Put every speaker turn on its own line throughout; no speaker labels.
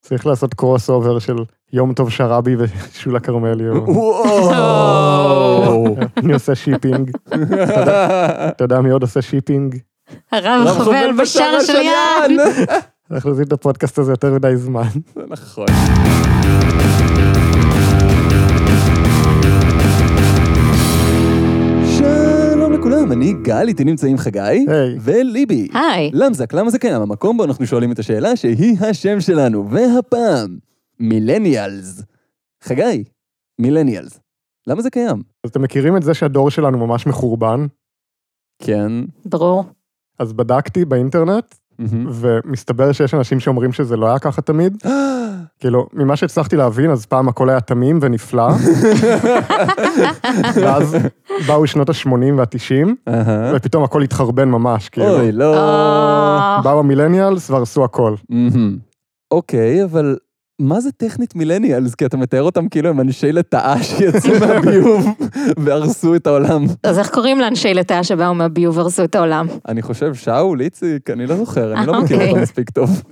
צריך לעשות קרוס אובר של יום טוב שרבי ושולה כרמלי. או-
וואו.
אני עושה שיפינג. אתה יודע- אתה יודע מי עוד עושה שיפינג?
הרב
רב
חובל
חובל
בשער של יד.
אנחנו עושים את הפודקאסט הזה יותר מדי זמן.
נכון. שלום לכולם, אני גל, איתי נמצאים חגי
היי.
וליבי.
היי.
למזק, למה זה קיים? המקום בו אנחנו שואלים את השאלה שהיא השם שלנו, והפעם, מילניאלס. חגי, מילניאלס. למה זה קיים?
אז אתם מכירים את זה שהדור שלנו ממש מחורבן?
כן.
ברור.
אז בדקתי באינטרנט, ומסתבר שיש אנשים שאומרים שזה לא היה ככה תמיד. כאילו, ממה שהצלחתי להבין, אז פעם הכל היה תמים ונפלא, ואז באו שנות ה-80 וה-90,
אהה.
ופתאום הכל התחרבן ממש, כאילו.
אוי, לא.
אה,
באו המילניאלס והרסו הכל.
מהמם. אוקיי, אבל מה זה טכנית מילניאלס? כי אתה מתאר אותם כאילו הם אנשי לטאה שיצאו מהביוב והרסו את העולם.
אז איך קוראים לאנשי לטאה שבאו מהביוב והרסו את העולם?
אני חושב שאול, איציק, אני לא זוכר, אני
אה,
לא מכיר
אוקיי.
אותם מספיק טוב.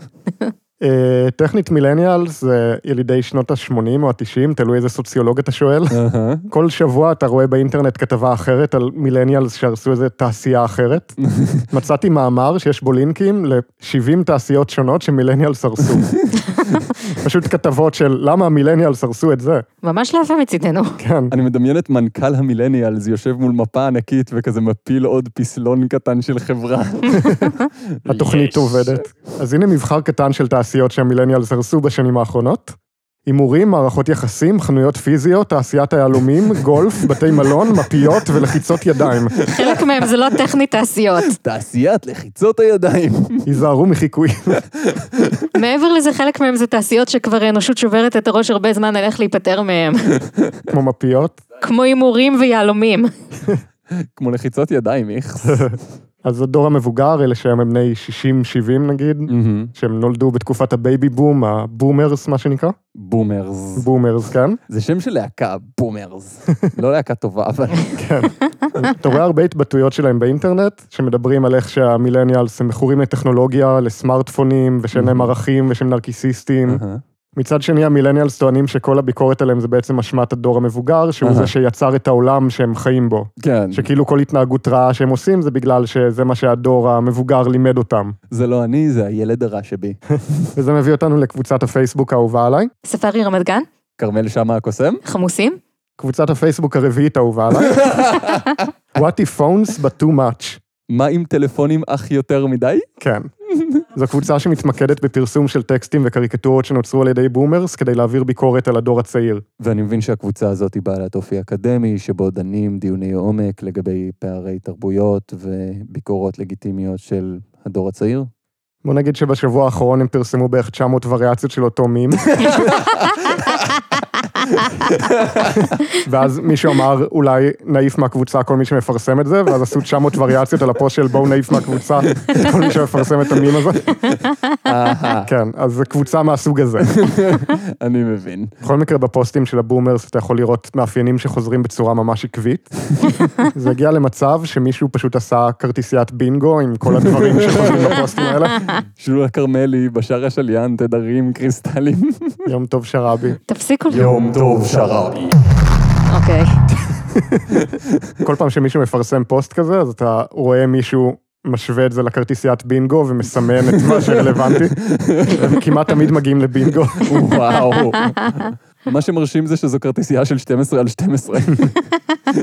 אה, טכנית מילניאלס זה ילידי שנות ה-80 או ה-90, תלוי איזה סוציולוג אתה שואל.
אהה.
כל שבוע אתה רואה באינטרנט כתבה אחרת על מילניאלס שהרסו איזה תעשייה אחרת. מצאתי מאמר שיש בו לינקים ל-70 תעשיות שונות שמילניאלס הרסו. פשוט כתבות של למה המילניאלס הרסו את זה,
ממש לא יפה מצידנו.
כן.
אני מדמיין את מנכ"ל המילניאלס יושב מול מפה ענקית וכזה מפיל עוד פסלון קטן של חברה.
התוכנית
יש.
עובדת. אז הנה מבחר קטן של תעשיות שהמילניאלס הרסו בשנים האחרונות. הימורים, מערכות יחסים, חנויות פיזיות, תעשיית היהלומים, גולף, בתי מלון, מפיות ולחיצות ידיים.
חלק מהם זה לא טכנית תעשיות.
תעשיית לחיצות הידיים.
היזהרו מחיקויים.
מעבר לזה, חלק מהם זה תעשיות שכבר האנושות שוברת את הראש הרבה זמן על איך להיפטר מהם.
כמו מפיות.
כמו הימורים ויהלומים.
כמו לחיצות ידיים, איכס.
אז הדור המבוגר, אלה שהם הם בני 60-70 נגיד,
מהמם.
שהם נולדו בתקופת הבייבי בום, הבומרס מה שנקרא,
בומרס.
בומרס כן.
זה שם של להקה, בומרס. לא להקה טובה, אבל...
אתה רואה הרבה התבטאויות שלהם באינטרנט, שמדברים על איך שהמילניאלס הם מכורים לטכנולוגיה, לסמארטפונים, ושאין להם ערכים ושהם נרקיסיסטים.
אהה.
מצד שני המילניאלס טוענים שכל הביקורת עליהם זה בעצם אשמת הדור המבוגר, שהוא
אהה.
זה שיצר את העולם שהם חיים בו.
כן.
שכאילו כל התנהגות רעה שהם עושים זה בגלל שזה מה שהדור המבוגר לימד אותם.
זה לא אני, זה הילד הרע שבי.
וזה מביא אותנו לקבוצת הפייסבוק האהובה עליי.
ספארי רמת גן?
כרמל שאמה הקוסם?
חמוסים?
קבוצת הפייסבוק הרביעית האהובה עליי. What if phones but too much.
מה עם טלפונים אך יותר מדי?
כן. זו קבוצה שמתמקדת בפרסום של טקסטים וקריקטורות שנוצרו על ידי בומרס כדי להעביר ביקורת על הדור הצעיר.
ואני מבין שהקבוצה הזאת היא בעלת אופי אקדמי, שבו דנים דיוני עומק לגבי פערי תרבויות וביקורות לגיטימיות של הדור הצעיר.
בוא נגיד שבשבוע האחרון הם פרסמו בערך 900 וריאציות של אותו מים. ואז מישהו אמר, אולי נעיף מהקבוצה כל מי שמפרסם את זה, ואז עשו 900 וריאציות על הפוסט של בואו נעיף מהקבוצה את כל מי שמפרסם את המים הזה.
אהה,
כן, אז זו קבוצה מהסוג הזה.
אני מבין.
בכל מקרה, בפוסטים של הבומרס אתה יכול לראות מאפיינים שחוזרים בצורה ממש עקבית. זה הגיע למצב שמישהו פשוט עשה כרטיסיית בינגו עם כל הדברים שחוזרים בפוסטים האלה.
שולה כרמלי, בשאר השליין, תדרים, קריסטלים.
יום טוב שרבי.
תפסיקו.
יום טוב שרבי.
אוקיי.
כל פעם שמישהו מפרסם פוסט כזה, אז אתה רואה מישהו משווה את זה לכרטיסיית בינגו ומסמן את מה שרלוונטי. הם כמעט תמיד מגיעים לבינגו.
וואו. מה שמרשים זה שזו כרטיסייה של 12 על 12.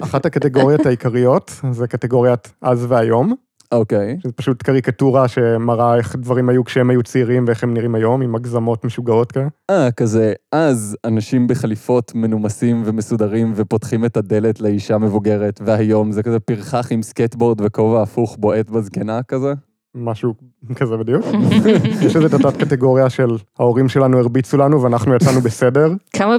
אחת הקטגוריות העיקריות זה קטגוריית אז והיום,
אוקיי.
שזה פשוט קריקטורה שמראה איך דברים היו כשהם היו צעירים ואיך הם נראים היום, עם הגזמות משוגעות כאלה.
אה, כזה, אז אנשים בחליפות מנומסים ומסודרים ופותחים את הדלת לאישה מבוגרת, והיום זה כזה פרחח עם סקטבורד וכובע הפוך בועט בזקנה כזה?
משהו כזה בדיוק. יש לזה את התת קטגוריה של ההורים שלנו הרביצו לנו ואנחנו יצאנו בסדר,
אה, כמה...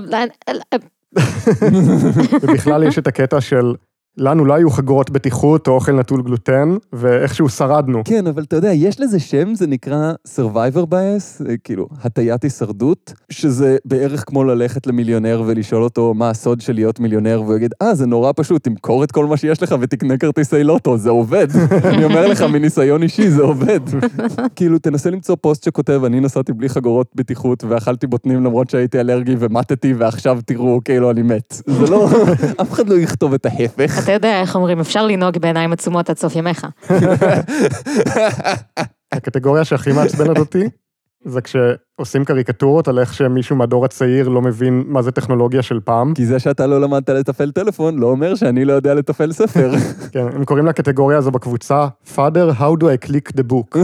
ובכלל יש את הקטע של לנו לא היו חגורות בטיחות או אוכל נטול גלוטן, ואיכשהו שרדנו.
כן, אבל אתה יודע, יש לזה שם, זה נקרא Survivor Bias, אה, כאילו, הטיית הישרדות, שזה בערך כמו ללכת למיליונר ולשאול אותו מה הסוד של להיות מיליונר, והוא יגיד, אה, זה נורא פשוט, תמכור את כל מה שיש לך ותקנה כרטיסי לוטו, זה עובד. אני אומר לך, מניסיון אישי, זה עובד. כאילו, תנסה למצוא פוסט שכותב, אני נסעתי בלי חגורות בטיחות ואכלתי בוטנים למרות שהייתי אלרגי ומטתי, ועכשיו תראו, כאילו, אני מת. זה לא, אף אחד לא יכתוב את ההפך.
אתה יודע איך אומרים, אפשר לנהוג בעיניים עצומות עד סוף ימיך.
הקטגוריה שהכי מעצבנת אותי, זה כשעושים קריקטורות על איך שמישהו מהדור הצעיר לא מבין מה זה טכנולוגיה של פעם.
כי זה שאתה לא למדת לתפעל טלפון, לא אומר שאני לא יודע לתפעל ספר.
כן, הם קוראים לקטגוריה הזו בקבוצה, Father, how do I click the book?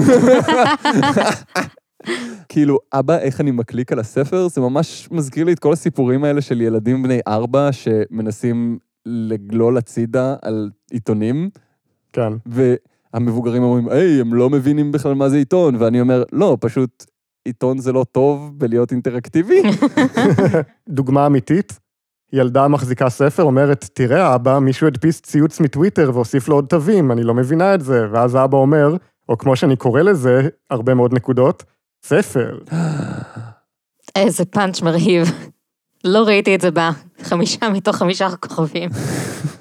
כאילו, אבא, איך אני מקליק על הספר? זה ממש מזכיר לי את כל הסיפורים האלה של ילדים בני ארבע שמנסים לגלול הצידה על עיתונים,
כן.
והמבוגרים אומרים, היי, הם לא מבינים בכלל מה זה עיתון, ואני אומר, לא, פשוט עיתון זה לא טוב בלהיות אינטראקטיבי.
דוגמה אמיתית, ילדה מחזיקה ספר, אומרת, תראה אבא, מישהו הדפיס ציוץ מטוויטר והוסיף לו עוד תווים, אני לא מבינה את זה. ואז האבא אומר, או כמו שאני קורא לזה, הרבה מאוד נקודות, ספר.
איזה פאנץ' מרהיב. לא ראיתי את זה בא. חמישה מתוך חמישה כוכבים.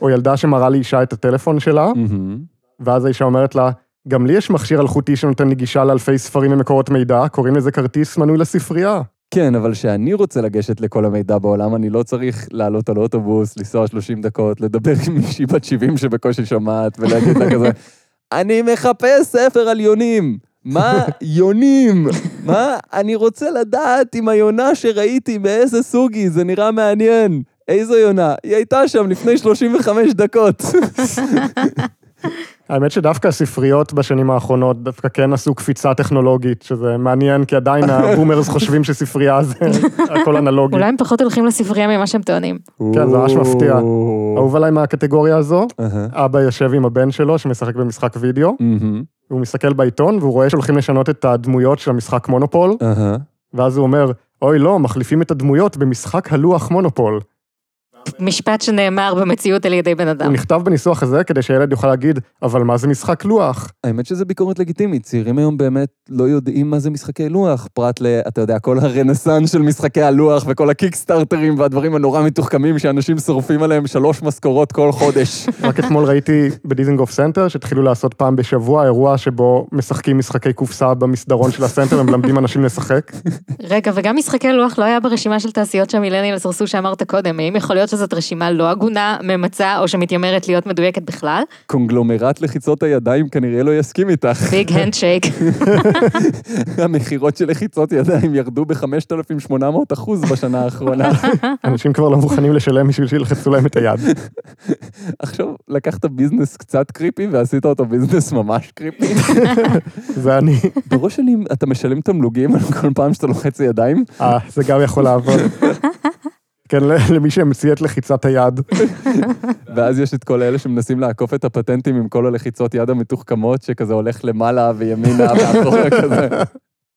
או ילדה שמראה לאישה את הטלפון שלה,
מהמם.
ואז האישה אומרת לה, גם לי יש מכשיר אלחוטי שנותן לי גישה לאלפי ספרים ומקורות מידע, קוראים לזה כרטיס מנוי לספרייה.
כן, אבל כשאני רוצה לגשת לכל המידע בעולם, אני לא צריך לעלות על אוטובוס, לנסוע 30 דקות, לדבר עם מישהי בת 70 שבקושי שומעת, ולהגיד לה כזה, אני מחפש ספר על יונים. מה יונים? מה? אני רוצה לדעת אם היונה שראיתי, מאיזה סוג היא, זה נראה מעניין. איזו יונה? היא הייתה שם לפני 35 דקות.
האמת שדווקא הספריות בשנים האחרונות דווקא כן עשו קפיצה טכנולוגית, שזה מעניין, כי עדיין הבומרס חושבים שספרייה זה הכל אנלוגי.
אולי הם פחות הולכים לספרייה ממה שהם טוענים.
כן, זה ממש מפתיע. אהוב עליי מהקטגוריה הזו,
אהה.
אבא יושב עם הבן שלו שמשחק במשחק וידאו,
מהמם.
הוא מסתכל בעיתון והוא רואה שהולכים לשנות את הדמויות של המשחק מונופול,
אהה.
ואז הוא אומר, אוי לא, מחליפים את הדמויות במשחק הלוח מונופול.
משפט שנאמר במציאות על ידי בן
הוא
אדם.
נכתב בניסוח הזה כדי שהילד יוכל להגיד, אבל מה זה משחק לוח?
האמת שזה ביקורת לגיטימית, צעירים היום באמת לא יודעים מה זה משחקי לוח, פרט ל, אתה יודע, כל הרנסאנס של משחקי הלוח וכל הקיקסטארטרים והדברים הנורא מתוחכמים שאנשים שורפים עליהם שלוש משכורות כל חודש.
רק אתמול ראיתי בדיזנגוף סנטר שהתחילו לעשות פעם בשבוע אירוע שבו משחקים משחקי קופסה במסדרון של הסנטר ומלמדים אנשים לשחק.
רגע, וגם משחקי לוח לא היה ברשימה של תעשיות שהמילניאל הרסו שאמרת קודם. האם יכול להיות שזאת רשימה לא הגונה, ממצה, או שמתיימרת להיות מדויקת בכלל?
קונגלומרט לחיצות הידיים כנראה לא יסכים איתך.
ביג הנדשייק.
המכירות של לחיצות ידיים ירדו ב-5,800 אחוז בשנה האחרונה.
אנשים כבר לא מוכנים לשלם בשביל שילחצו להם את היד.
עכשיו לקחת ביזנס קצת קריפי ועשית אותו ביזנס ממש קריפי.
זה אני.
בראש שלי, אתה משלם תמלוגים על כל פעם שאתה לוחץ ידיים?
אה, זה גם יכול לעבוד. כן, ל- למי שהמציא את לחיצת היד.
ואז יש את כל אלה שמנסים לעקוף את הפטנטים עם כל הלחיצות יד המתוחכמות, שכזה הולך למעלה וימינה ואחורה כזה.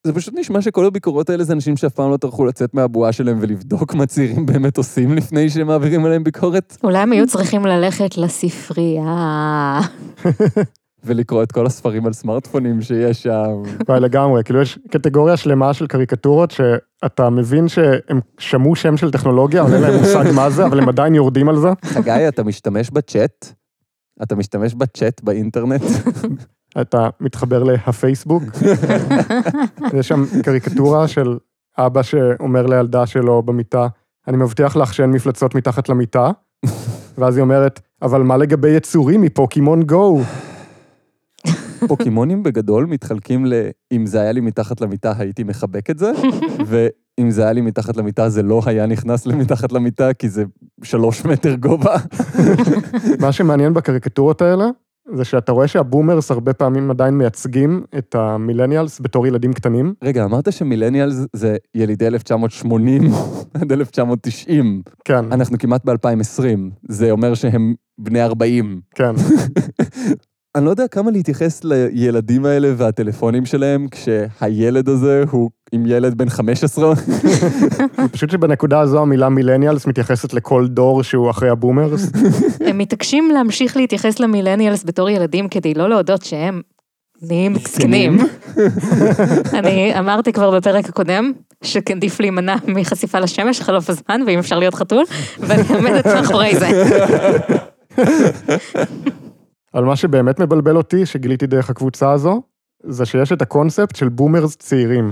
זה פשוט נשמע שכל הביקורות האלה זה אנשים שאף פעם לא טרחו לצאת מהבועה שלהם ולבדוק מה צעירים באמת עושים לפני שהם מעבירים עליהם ביקורת,
אולי הם היו צריכים ללכת לספרייה.
ולקרוא את כל הספרים על סמארטפונים שיש שם.
וואי, לגמרי. כאילו, יש קטגוריה שלמה של קריקטורות שאתה מבין שהם שמעו שם של טכנולוגיה, אבל אין להם מושג מה זה, אבל הם עדיין יורדים על זה.
חגי, אתה משתמש בצ'אט? אתה משתמש בצ'אט באינטרנט?
אתה מתחבר להפייסבוק. יש שם קריקטורה של אבא שאומר לילדה שלו במיטה, אני מבטיח לך שאין מפלצות מתחת למיטה, ואז היא אומרת, אבל מה לגבי יצורים מפוקימון גו?
פוקימונים בגדול מתחלקים ל... אם זה היה לי מתחת למיטה, הייתי מחבק את זה, ואם זה היה לי מתחת למיטה, זה לא היה נכנס למתחת למיטה, כי זה שלוש מטר גובה.
מה שמעניין בקריקטורות האלה, זה שאתה רואה שהבומרס הרבה פעמים עדיין מייצגים את המילניאלס בתור ילדים קטנים.
רגע, אמרת שמילניאלס זה ילידי 1980 עד 1990.
כן,
אנחנו כמעט ב-2020, זה אומר שהם בני 40.
כן.
אני לא יודע כמה להתייחס לילדים האלה והטלפונים שלהם, כשהילד הזה הוא עם ילד בן 15.
פשוט שבנקודה הזו המילה מילניאלס מתייחסת לכל דור שהוא אחרי הבומרס.
הם מתעקשים להמשיך להתייחס למילניאלס בתור ילדים כדי לא להודות שהם נהיים זקנים. אני אמרתי כבר בפרק הקודם, שעדיף להימנע מחשיפה לשמש, חלוף הזמן, ואם אפשר להיות חתול, ואני עומדת מאחורי זה.
אבל מה שבאמת מבלבל אותי, שגיליתי דרך הקבוצה הזו, זה שיש את הקונספט של בומרס צעירים.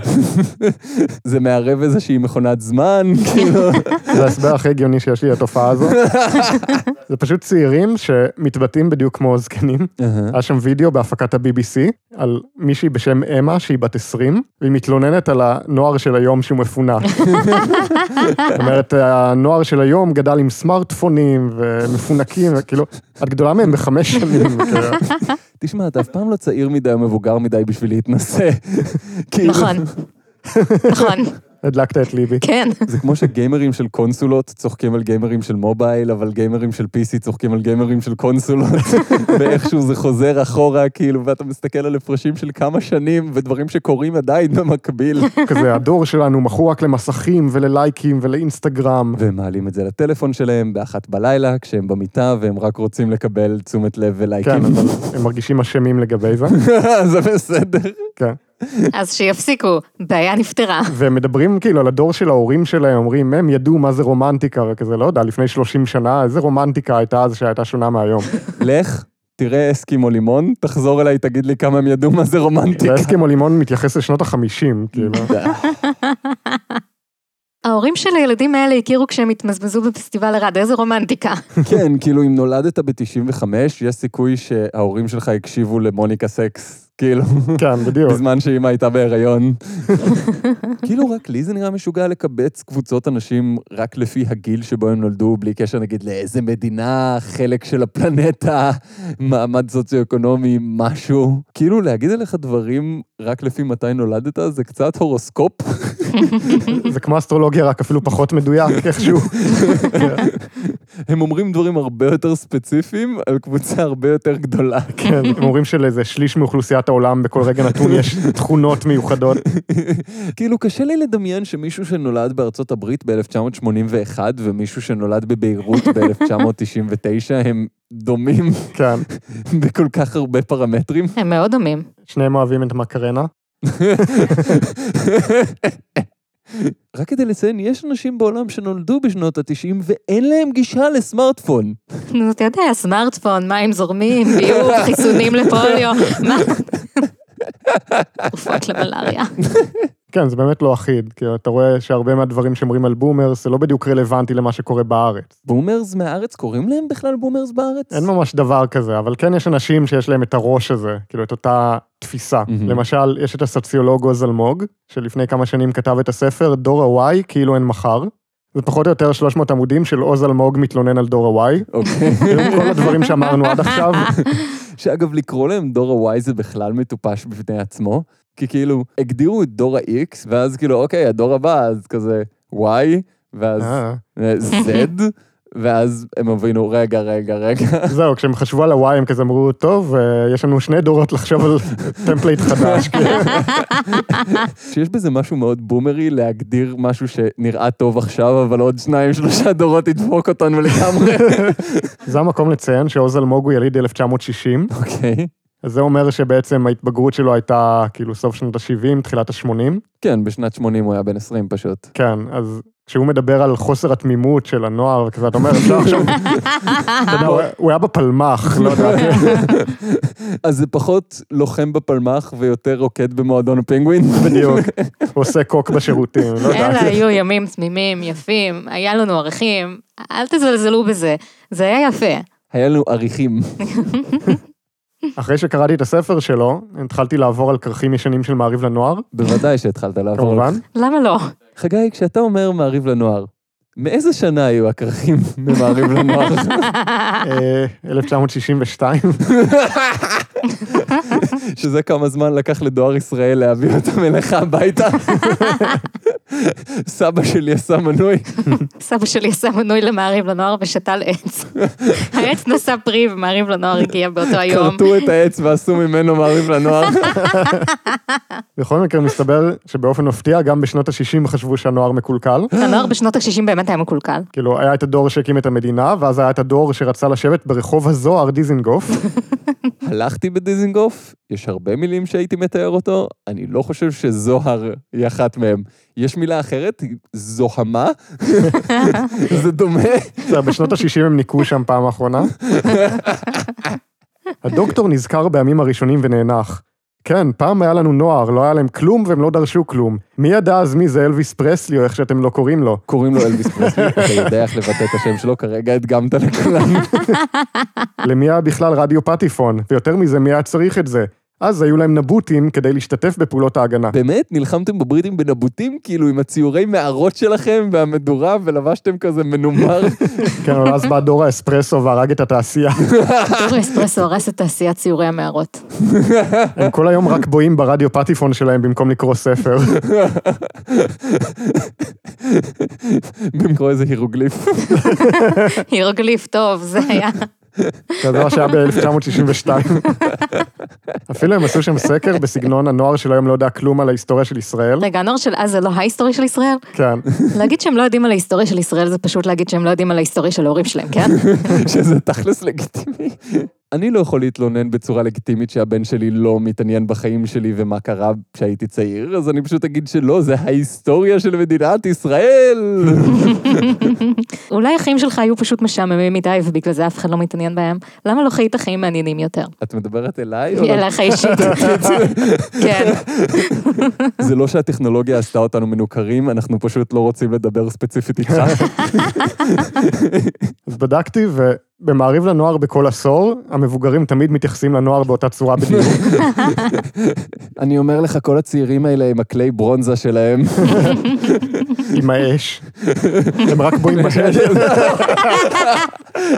זה מערב איזושהי מכונת זמן, כאילו.
זה ההסבר הכי הגיוני שיש לי לתופעה הזו. זה פשוט צעירים שמתבטאים בדיוק כמו זקנים. היה שם וידאו בהפקת ה-BBC על מישהי בשם אמה שהיא בת 20, והיא מתלוננת על הנוער של היום שהוא מפונק. זאת אומרת, הנוער של היום גדל עם סמארטפונים ומפונקים, וכאילו, את גדולה מהם בחמש שנים. וכאילו,
תשמע, אתה אף פעם לא צעיר מדי או מבוגר מדי בשביל להתנסה. כאילו,
נכון. נכון,
הדלקת את ליבי.
כן.
זה כמו שגיימרים של קונסולות צוחקים על גיימרים של מובייל, אבל גיימרים של PC צוחקים על גיימרים של קונסולות, ואיכשהו זה חוזר אחורה, כאילו, ואתה מסתכל על הפרשים של כמה שנים, ודברים שקורים עדיין במקביל.
כזה, הדור שלנו מכור רק למסכים וללייקים ולאינסטגרם.
והם מעלים את זה לטלפון שלהם באחת בלילה, כשהם במיטה, והם רק רוצים לקבל תשומת לב ולייקים. אה,
כן, אבל הם מרגישים אשמים לגבי זה.
זה בסדר.
כן.
אז שיפסיקו, בעיה נפתרה.
והם מדברים כאילו על הדור של ההורים שלהם, אומרים, הם ידעו מה זה רומנטיקה וכזה, לא יודע, לפני 30 שנה, איזה רומנטיקה הייתה אז שהייתה שונה מהיום.
לך, תראה אסקימו לימון, תחזור אליי, תגיד לי כמה הם ידעו מה זה רומנטיקה.
והאסקימו לימון מתייחס לשנות ה-50, כאילו.
ההורים של הילדים האלה הכירו כשהם התמזמזו בפסטיבל ערד, איזה רומנטיקה.
כן, כאילו, אם נולדת ב-95, יש סיכוי שההורים שלך הקשיבו למוניקה סקס, כאילו,
כן, בדיוק.
בזמן שאימא הייתה בהיריון. כאילו, רק לי זה נראה משוגע לקבץ קבוצות אנשים רק לפי הגיל שבו הם נולדו, בלי קשר, נגיד, לאיזה מדינה, חלק של הפלנטה, מעמד סוציו-אקונומי, משהו. כאילו, להגיד עליך דברים רק לפי מתי נולדת, זה קצת הורוסקופ.
זה כמו אסטרולוגיה, רק אפילו פחות מדויק איכשהו.
הם אומרים דברים הרבה יותר ספציפיים על קבוצה הרבה יותר גדולה.
כן, הם אומרים שלאיזה שליש מאוכלוסיית העולם בכל רגע נתון יש תכונות מיוחדות.
כאילו, קשה לי לדמיין שמישהו שנולד בארצות הברית ב-1981 ומישהו שנולד בביירות ב-1999 הם דומים
כן,
בכל כך הרבה פרמטרים.
הם מאוד דומים.
שניהם אוהבים את מקרנה.
רק כדי לציין, יש אנשים בעולם שנולדו בשנות ה-90 ואין להם גישה לסמארטפון.
נו, אתה יודע, סמארטפון, מים זורמים, ביוב, חיסונים לפוליו, מה? תרופות למלאריה.
כן, זה באמת לא אחיד, כי אתה רואה שהרבה מהדברים שאומרים על בומרס, זה לא בדיוק רלוונטי למה שקורה בארץ.
בומרס מהארץ, קוראים להם בכלל בומרס בארץ?
אין ממש דבר כזה, אבל כן יש אנשים שיש להם את הראש הזה, כאילו, את אותה תפיסה.
מהמם.
למשל, יש את הסוציולוג עוז אלמוג, שלפני כמה שנים כתב את הספר "דור ה-Y כאילו אין מחר". זה פחות או יותר 300 עמודים של עוז אלמוג מתלונן על דור ה-Y.
אוקיי.
כל הדברים שאמרנו עד עכשיו,
שאגב, לקרוא להם דור ה-Y זה בכלל מטופש בפני עצמו, כי כאילו, הגדירו את דור ה-X, ואז כאילו, אוקיי, הדור הבא, אז כזה Y, ואז
אה.
אה, Z, ואז הם הבינו, רגע, רגע, רגע.
אה, זהו, כשהם חשבו על ה-Y הם כזה אמרו, טוב, אה, יש לנו שני דורות לחשוב על טמפלייט חדש, כאילו.
שיש בזה משהו מאוד בומרי להגדיר משהו שנראה טוב עכשיו, אבל עוד שניים, שלושה דורות ידפוק אותנו לגמרי.
זה המקום לציין שעוז אלמוג הוא יליד 1960,
אוקיי.
אז זה אומר שבעצם ההתבגרות שלו הייתה כאילו סוף שנות ה-70, תחילת ה-80.
כן, בשנת 80 הוא היה בן 20 פשוט.
כן, אז כשהוא מדבר על חוסר התמימות של הנוער, וכזה, אתה אומר, אפשר עכשיו... אתה יודע, הוא- הוא היה בפלמ"ח, לא יודע.
אז זה פחות לוחם בפלמ"ח ויותר רוקד במועדון הפינגווין.
בדיוק. הוא עושה קוק בשירותים, לא
אלה
יודע.
היו ימים תמימים, יפים, היה לנו ערכים, אל תזלזלו בזה, זה היה יפה.
היה לנו עריכים.
אחרי שקראתי את הספר שלו, התחלתי לעבור על כרכים ישנים של מעריב לנוער,
בוודאי שהתחלת לעבור.
כמובן.
למה לא?
חגי, כשאתה אומר מעריב לנוער, מאיזה שנה היו הכרכים במעריב לנוער?
אה, 1962,
שזה כמה זמן לקח לדואר ישראל להביא אותם אליך הביתה. סבא שלי עשה מנוי.
סבא שלי עשה מנוי למעריב לנוער ושתל עץ. העץ נשא פרי ומעריב לנוער הגיע באותו היום.
כרתו את העץ ועשו ממנו מעריב לנוער.
בכל מקרה, מסתבר שבאופן מפתיע, גם בשנות ה-60 חשבו שהנוער מקולקל.
הנוער בשנות ה-60 באמת היה מקולקל.
כאילו, היה את הדור שהקים את המדינה, ואז היה את הדור שרצה לשבת ברחוב הזוהר דיזינגוף.
הלכתי בדיזינגוף, יש הרבה מילים שהייתי מתאר אותו, אני לא חושב שזוהר היא אחת מהם. יש מילה אחרת, זוהמה? זה דומה?
בסדר, בשנות ה-60 הם ניקו שם פעם האחרונה. הדוקטור נזכר בימים הראשונים ונאנח. כן, פעם היה לנו נוער, לא היה להם כלום והם לא דרשו כלום. מי ידע אז מי זה אלוויס פרסלי או איך שאתם לא קוראים לו?
קוראים לו אלביס פרסלי, אתה יודע איך לבטא את השם שלו, כרגע הדגמת לכולם.
למי היה בכלל רדיו פטיפון? ויותר מזה, מי היה צריך את זה? אז היו להם נבוטים כדי להשתתף בפעולות ההגנה.
באמת, נלחמתם בבריטים בנבוטים, כאילו עם הציורי מערות שלכם והמדורה, ולבשתם כזה מנומר.
כן, אבל אז בא דור האספרסו והרג את התעשייה.
דור אספרסו הרס את תעשיית ציורי המערות.
הם כל היום רק בואים ברדיו פטיפון שלהם במקום לקרוא ספר.
במקום איזה הירוגליף.
הירוגליף טוב, זה היה.
זה הדבר שהיה ב-1962. אפילו הם עשו שם סקר בסגנון הנוער של היום לא יודע כלום על ההיסטוריה של ישראל.
רגע, הנוער של אז זה לא ההיסטוריה של ישראל?
כן.
להגיד שהם לא יודעים על ההיסטוריה של ישראל זה פשוט להגיד שהם לא יודעים על ההיסטוריה של ההורים שלהם, כן?
שזה תכלס לגיטימי. אני לא יכול להתלונן בצורה לגיטימית שהבן שלי לא מתעניין בחיים שלי ומה קרה כשהייתי צעיר, אז אני פשוט אגיד שלא, זה ההיסטוריה של מדינת ישראל.
אולי החיים שלך היו פשוט משעממים מדי ובגלל זה אף אחד לא מתעניין בהם. למה לא חיית חיים מעניינים יותר?
את מדברת אליי? או לא?
אליך אישית. כן.
זה לא שהטכנולוגיה עשתה אותנו מנוכרים, אנחנו פשוט לא רוצים לדבר ספציפית איתך.
אז בדקתי, ובמעריב לנוער בכל עשור, המבוגרים תמיד מתייחסים לנוער באותה צורה בדיוק.
אני אומר לך, כל הצעירים האלה עם הכלי ברונזה שלהם.
עם האש. הם רק בואים באש.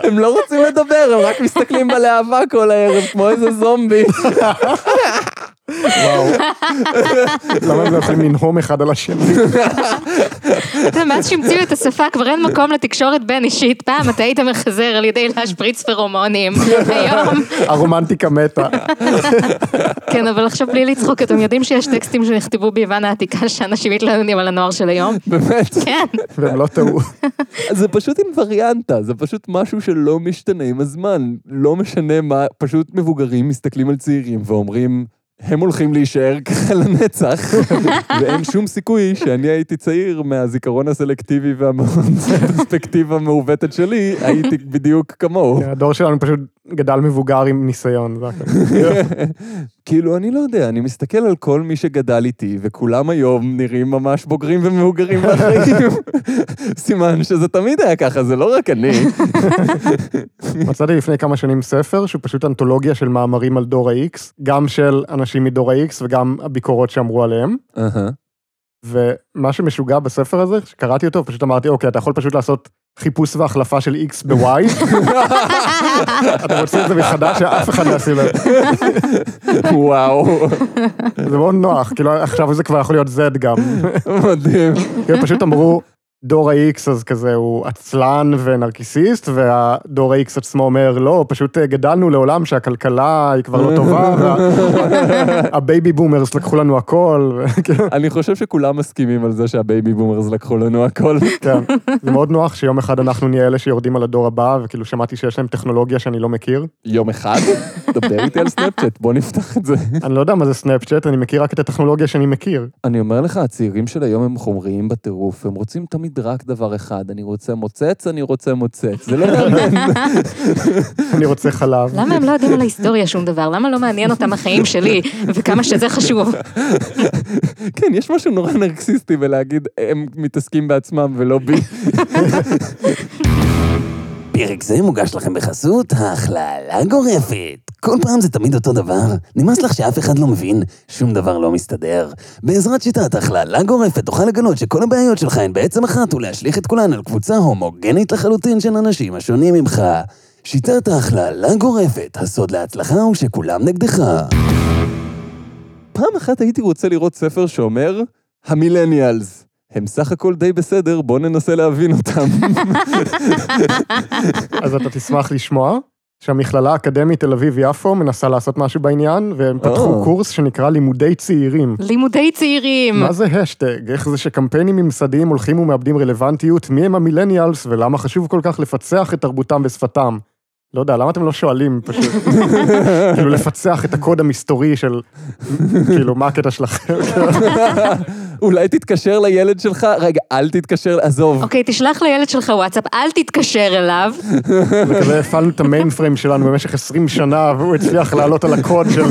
הם לא רוצים לדבר, הם רק מסתכלים בלהבה כל הערב, כמו איזה זומבי.
וואו. למה הם לא יכולים לנהום אחד על השני?
אתה יודע, מאז שהמציאו את השפה כבר אין מקום לתקשורת בין אישית. פעם אתה היית מחזר על ידי להשפריץ פרומונים. היום,
הרומנטיקה מתה.
כן, אבל עכשיו בלי לצחוק, אתם יודעים שיש טקסטים שנכתבו ביוון העתיקה שאנשים מתלוננים על הנוער של היום?
באמת.
כן.
והם לא טעו.
זה פשוט אינווריאנטה, זה פשוט משהו שלא משתנה עם הזמן. לא משנה מה, פשוט מבוגרים מסתכלים על צעירים ואומרים, הם הולכים להישאר ככה לנצח, ואין שום סיכוי שאני הייתי צעיר מהזיכרון הסלקטיבי והפרספקטיבה המעוותת שלי, הייתי בדיוק כמוהו.
הדור שלנו פשוט גדל מבוגר עם ניסיון, זה הכל.
כאילו, אני לא יודע, אני מסתכל על כל מי שגדל איתי, וכולם היום נראים ממש בוגרים ומבוגרים בחיים. סימן שזה תמיד היה ככה, זה לא רק אני.
מצאתי לפני כמה שנים ספר שהוא פשוט אנתולוגיה של מאמרים על דור ה-X, גם של אנשים מדור ה-X וגם הביקורות שאמרו עליהם.
אהה.
ומה שמשוגע בספר הזה, כשקראתי אותו, פשוט אמרתי, אוקיי, אתה יכול פשוט לעשות חיפוש והחלפה של X ב-Y, אתה מוציא את זה מחדש, שאף אחד לא ישים לב.
וואו,
זה מאוד נוח, כאילו עכשיו זה כבר יכול להיות Z גם.
מדהים.
כאילו פשוט אמרו, דור ה-X אז כזה הוא עצלן ונרקיסיסט, והדור ה-X עצמו אומר, לא, פשוט גדלנו לעולם שהכלכלה היא כבר לא טובה, וה- הבייבי בומרס לקחו לנו הכל, וכאילו,
אני חושב שכולם מסכימים על זה שהבייבי בומרס לקחו לנו הכל.
כן. זה מאוד נוח שיום אחד אנחנו נהיה אלה שיורדים על הדור הבא, וכאילו שמעתי שיש להם טכנולוגיה שאני לא מכיר.
יום אחד, דבר איתי על סנאפצ'אט, בוא נפתח את זה.
אני לא יודע מה זה סנאפצ'אט, אני מכיר רק את הטכנולוגיה שאני מכיר.
אני אומר לך, הצעירים של היום הם חומריים בטירוף, הם רוצים תמיד רק דבר אחד, אני רוצה מוצץ, אני רוצה מוצץ. זה לא יאמן.
אני רוצה חלב.
למה הם לא יודעים על ההיסטוריה שום דבר? למה לא מעניין אותם החיים שלי וכמה שזה חשוב?
כן, יש משהו נורא נרקסיסטי בלהגיד, הם מתעסקים בעצמם ולא בי.
פרק זה מוגש לכם בחסות ההכללה גורפת. כל פעם זה תמיד אותו דבר. נמאס לך שאף אחד לא מבין, שום דבר לא מסתדר. בעזרת שיטת הכללה גורפת תוכל לגלות שכל הבעיות שלך הן בעצם אחת ולהשליך את כולן על קבוצה הומוגנית לחלוטין של אנשים השונים ממך. שיטת ההכללה גורפת, הסוד להצלחה הוא שכולם נגדך.
פעם אחת הייתי רוצה לראות ספר שאומר, המילניאלס. הם סך הכל די בסדר, בואו ננסה להבין אותם.
אז אתה תשמח לשמוע שהמכללה האקדמית תל אביב-יפו מנסה לעשות משהו בעניין, והם פתחו
או.
קורס שנקרא לימודי צעירים.
לימודי צעירים.
מה זה השטג? איך זה שקמפיינים ממסדיים הולכים ומאבדים רלוונטיות? מי הם המילניאלס ולמה חשוב כל כך לפצח את תרבותם ושפתם? לא יודע, למה אתם לא שואלים פשוט? כאילו, לפצח את הקוד המסתורי של... כאילו, מה הקטע שלכם?
אולי תתקשר לילד שלך, רגע, אל תתקשר, עזוב.
אוקיי, תשלח לילד שלך וואטסאפ, אל תתקשר אליו.
וכזה הפעלנו את המיין פריים שלנו במשך 20 שנה, והוא הצליח לעלות על הקוד של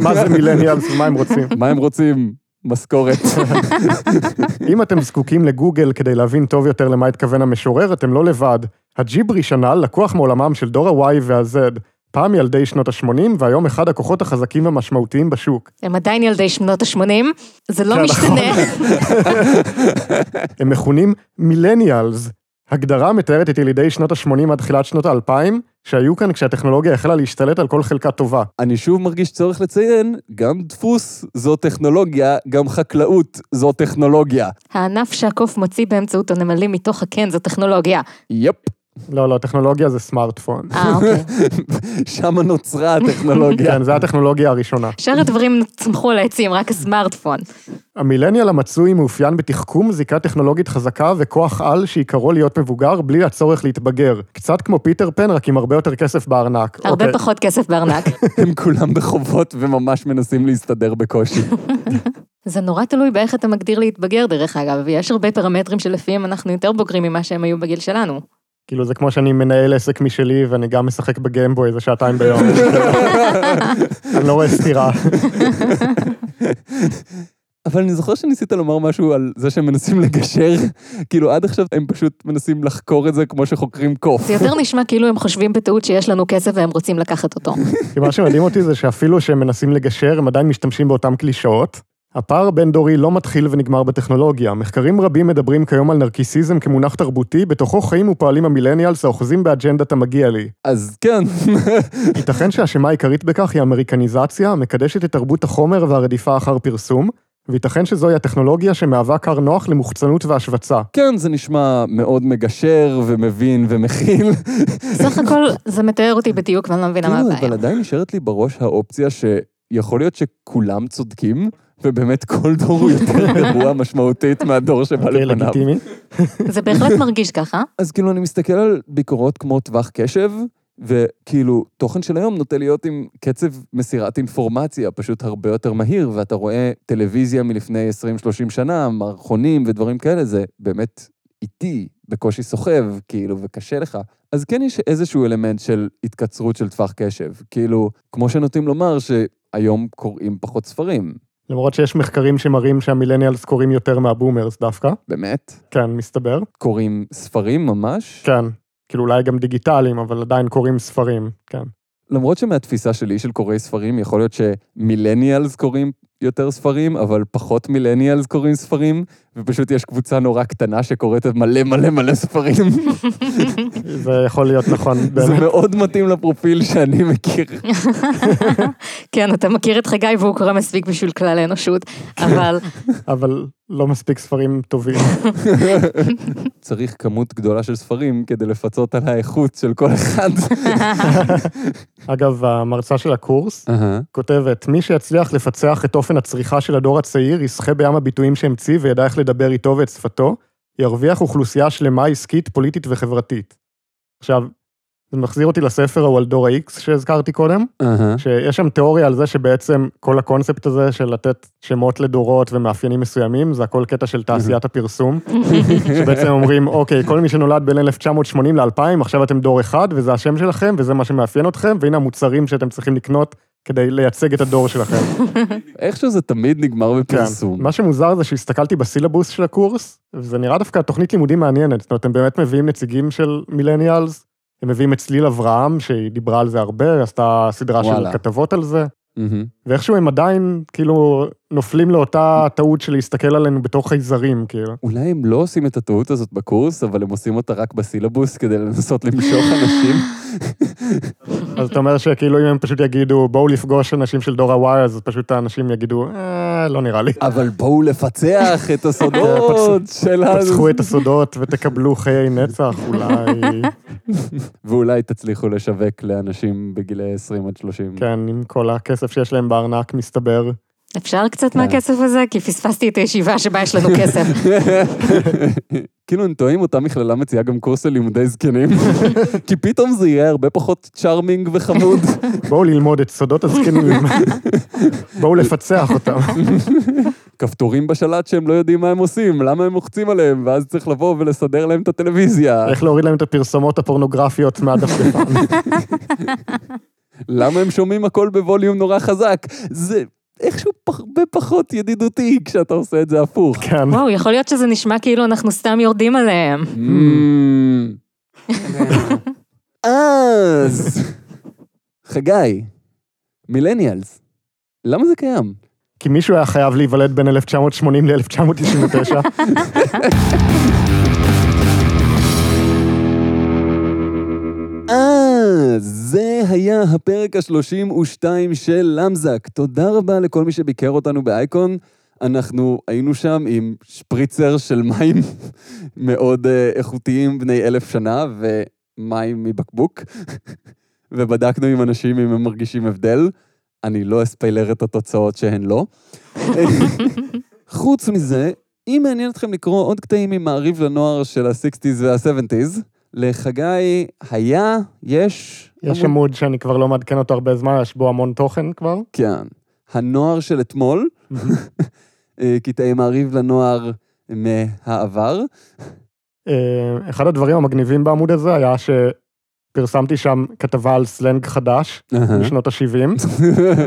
מה זה מילניאלס ומה הם רוצים.
מה הם רוצים? משכורת.
אם אתם זקוקים לגוגל כדי להבין טוב יותר למה התכוון המשורר, אתם לא לבד. הג'יברי שנה לקוח מעולמם של דור ה-Y וה-Z, פעם ילדי שנות ה-80, והיום אחד הכוחות החזקים והמשמעותיים בשוק.
הם עדיין ילדי שנות ה-80, זה
כן,
לא
נכון.
משתנה.
הם מכונים מילניאלס. הגדרה מתארת את ילידי שנות ה-80 עד תחילת שנות ה-2000, שהיו כאן כשהטכנולוגיה החלה להשתלט על כל חלקה טובה.
אני שוב מרגיש צורך לציין, גם דפוס זו טכנולוגיה, גם חקלאות זו טכנולוגיה.
הענף שהקוף מוציא באמצעות הנמלים מתוך הקן זו טכנולוגיה.
יפ,
לא, לא, טכנולוגיה זה סמארטפון.
אה, אוקיי.
שמה נוצרה הטכנולוגיה.
כן, זו הטכנולוגיה הראשונה.
שאר הדברים צמחו על העצים, רק הסמארטפון.
המילניאל המצוי מאופיין בתחכום, זיקה טכנולוגית חזקה וכוח על שעיקרו להיות מבוגר בלי הצורך להתבגר. קצת כמו פיטר פן, רק עם הרבה יותר כסף בארנק.
הרבה
אוקיי.
פחות כסף בארנק.
הם כולם בחובות וממש מנסים להסתדר בקושי.
זה נורא תלוי באיך אתה מגדיר להתבגר, דרך אגב, ויש הרבה פרמטרים שלפיהם אנחנו יותר בוגרים ממה שהם היו בגיל שלנו.
כאילו, זה כמו שאני מנהל עסק משלי ואני גם משחק בגיימבוי איזה שעתיים ביום. אני לא רואה סתירה.
אבל אני זוכר שניסית לומר משהו על זה שהם מנסים לגשר. כאילו, עד עכשיו הם פשוט מנסים לחקור את זה כמו שחוקרים קוף.
זה יותר נשמע כאילו הם חושבים בטעות שיש לנו כסף והם רוצים לקחת אותו.
כי מה שמדהים אותי זה שאפילו שהם מנסים לגשר, הם עדיין משתמשים באותן קלישאות. הפער בין דורי לא מתחיל ונגמר בטכנולוגיה. מחקרים רבים מדברים כיום על נרקיסיזם כמונח תרבותי, בתוכו חיים ופועלים המילניאלס האוחזים באג'נדת המגיע לי.
אז כן,
ייתכן שהאשמה העיקרית בכך היא האמריקניזציה, המקדשת את תרבות החומר והרדיפה אחר פרסום, וייתכן שזוהי הטכנולוגיה שמהווה כר נוח למוחצנות והשווצה.
כן, זה נשמע מאוד מגשר ומבין ומכיל.
סך הכל, זה מתאר אותי בדיוק ואני לא מבינה מה
כן,
כאילו,
הבעיה.
אבל עדיין נשארת לי בראש האופציה שיכול להיות שכולם צודקים, ובאמת כל דור הוא יותר גרוע משמעותית מהדור שבא
אוקיי,
לפניו.
לגיטימי.
זה בהחלט מרגיש ככה.
אז כאילו, אני מסתכל על ביקורות כמו טווח קשב, וכאילו, תוכן של היום נוטה להיות עם קצב מסירת אינפורמציה פשוט הרבה יותר מהיר, ואתה רואה טלוויזיה מלפני 20-30 שנה, מערכונים ודברים כאלה, זה באמת איטי, בקושי סוחב, כאילו, וקשה לך. אז כן יש איזשהו אלמנט של התקצרות של טווח קשב. כאילו, כמו שנוטים לומר, שהיום קוראים פחות ספרים.
למרות שיש מחקרים שמראים שהמילניאלס קוראים יותר מהבומרס דווקא.
באמת?
כן, מסתבר.
קוראים ספרים ממש?
כן. כאילו אולי גם דיגיטליים, אבל עדיין קוראים ספרים, כן.
למרות שמהתפיסה שלי של קוראי ספרים, יכול להיות שמילניאלס קוראים יותר ספרים, אבל פחות מילניאלס קוראים ספרים, ופשוט יש קבוצה נורא קטנה שקוראת מלא מלא מלא ספרים.
זה יכול להיות נכון,
זה
באמת.
מאוד מתאים לפרופיל שאני מכיר.
כן, אתה מכיר את חגי והוא קורא מספיק בשביל כלל האנושות, אבל
אבל לא מספיק ספרים טובים.
צריך כמות גדולה של ספרים כדי לפצות על האיכות של כל אחד.
אגב, המרצה של הקורס, כותבת, מי שיצליח לפצח את אופן הצריכה של הדור הצעיר, ישחה בים הביטויים שהמציא וידע איך לדבר איתו ואת שפתו, ירוויח אוכלוסייה שלמה עסקית, פוליטית וחברתית. עכשיו, זה מחזיר אותי לספר ההוא על דור ה-X שהזכרתי קודם, שיש שם תיאוריה על זה שבעצם כל הקונספט הזה של לתת שמות לדורות ומאפיינים מסוימים, זה הכל קטע של תעשיית הפרסום, שבעצם אומרים, אוקיי, כל מי שנולד בין 1980 ל-2000, עכשיו אתם דור אחד, וזה השם שלכם, וזה מה שמאפיין אתכם, והנה המוצרים שאתם צריכים לקנות כדי לייצג את הדור שלכם.
איכשהו זה תמיד נגמר
כן.
בפרסום.
מה שמוזר זה שהסתכלתי בסילבוס של הקורס, וזה נראה דווקא תוכנית לימודים מעניינת. זאת אומרת, הם באמת מביאים נציגים של מילניאלס, הם מביאים את צליל אברהם, שהיא דיברה על זה הרבה, עשתה סדרה של
וואלה.
כתבות על זה,
מהמם.
ואיכשהו הם עדיין, כאילו, נופלים לאותה טעות של להסתכל עלינו בתור חייזרים, כאילו.
אולי הם לא עושים את הטעות הזאת בקורס, אבל הם עושים אותה רק בסילבוס כדי לנסות למשוך אנשים.
אז אתה אומר שכאילו אם הם פשוט יגידו, בואו לפגוש אנשים של דור ה-Y, אז פשוט האנשים יגידו, אה, לא נראה לי.
אבל בואו לפצח את הסודות שלנו.
פצחו את הסודות ותקבלו חיי נצח, אולי,
ואולי תצליחו לשווק לאנשים בגילי 20 עד 30.
כן, עם כל הכסף שיש להם בארנק, מסתבר.
אפשר קצת
כן.
מהכסף הזה? כי פספסתי את הישיבה שבה יש לנו כסף.
כאילו, אני תוהה אם אותה מכללה מציעה גם קורס ללימודי זקנים, כי פתאום זה יהיה הרבה פחות צ'ארמינג וחמוד.
בואו ללמוד את סודות הזקנים, בואו לפצח אותם.
כפתורים בשלט שהם לא יודעים מה הם עושים, למה הם לוחצים עליהם, ואז צריך לבוא ולסדר להם את הטלוויזיה.
איך להוריד להם את הפרסומות הפורנוגרפיות מהדפדפן.
למה הם שומעים הכל בווליום נורא חזק? זה איכשהו פח- הרבה פחות ידידותי כשאתה עושה את זה הפוך.
כן.
וואו, יכול להיות שזה נשמע כאילו אנחנו סתם יורדים עליהם.
Mm. אז, חגי, מילניאלס, למה זה קיים?
כי מישהו היה חייב להיוולד בין 1980 ל-1999.
אה, זה היה הפרק ה-32 של למזק. תודה רבה לכל מי שביקר אותנו באייקון. אנחנו היינו שם עם שפריצר של מים מאוד אה, איכותיים בני אלף שנה, ומים מבקבוק, ובדקנו עם אנשים אם הם מרגישים הבדל. אני לא אספיילר את התוצאות שהן לא. חוץ מזה, אם מעניין אתכם לקרוא עוד קטעים ממעריב לנוער של ה-60's וה-70's, לחגי היה, יש...
יש עמוד שאני כבר לא מעדכן אותו הרבה זמן, יש בו המון תוכן כבר.
כן. הנוער של אתמול, אה, קטעי מעריב לנוער מהעבר.
אה, אחד הדברים המגניבים בעמוד הזה היה שפרסמתי שם כתבה על סלנג חדש
אה?
משנות ה-70,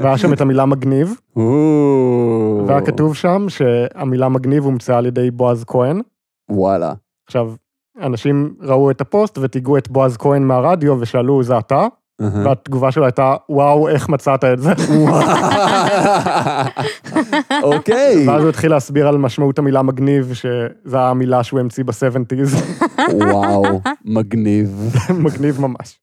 והיה שם את המילה מגניב,
או.
והיה כתוב שם שהמילה מגניב הומצאה על ידי בועז כהן.
וואלה.
עכשיו, אנשים ראו את הפוסט ותיגעו את בועז כהן מהרדיו ושאלו, זה אתה?
אהה.
והתגובה שלו הייתה, וואו, איך מצאת את זה?
אוקיי.
ואז הוא התחיל להסביר על משמעות המילה מגניב, שזו המילה שהוא המציא ב-70's,
וואו, מגניב.
מגניב ממש.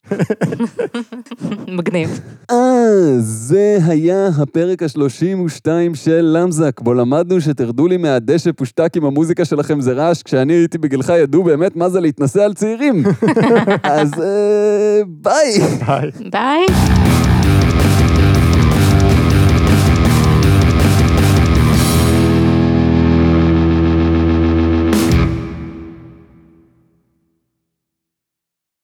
מגניב.
אז אה, זה היה הפרק ה-32 של למזק, בו למדנו שתרדו לי מהדשא פושטק אם המוזיקה שלכם זה רעש, כשאני הייתי בגילך ידעו באמת מה זה להתנסה על צעירים. אז אה, ביי.
היי.
ביי.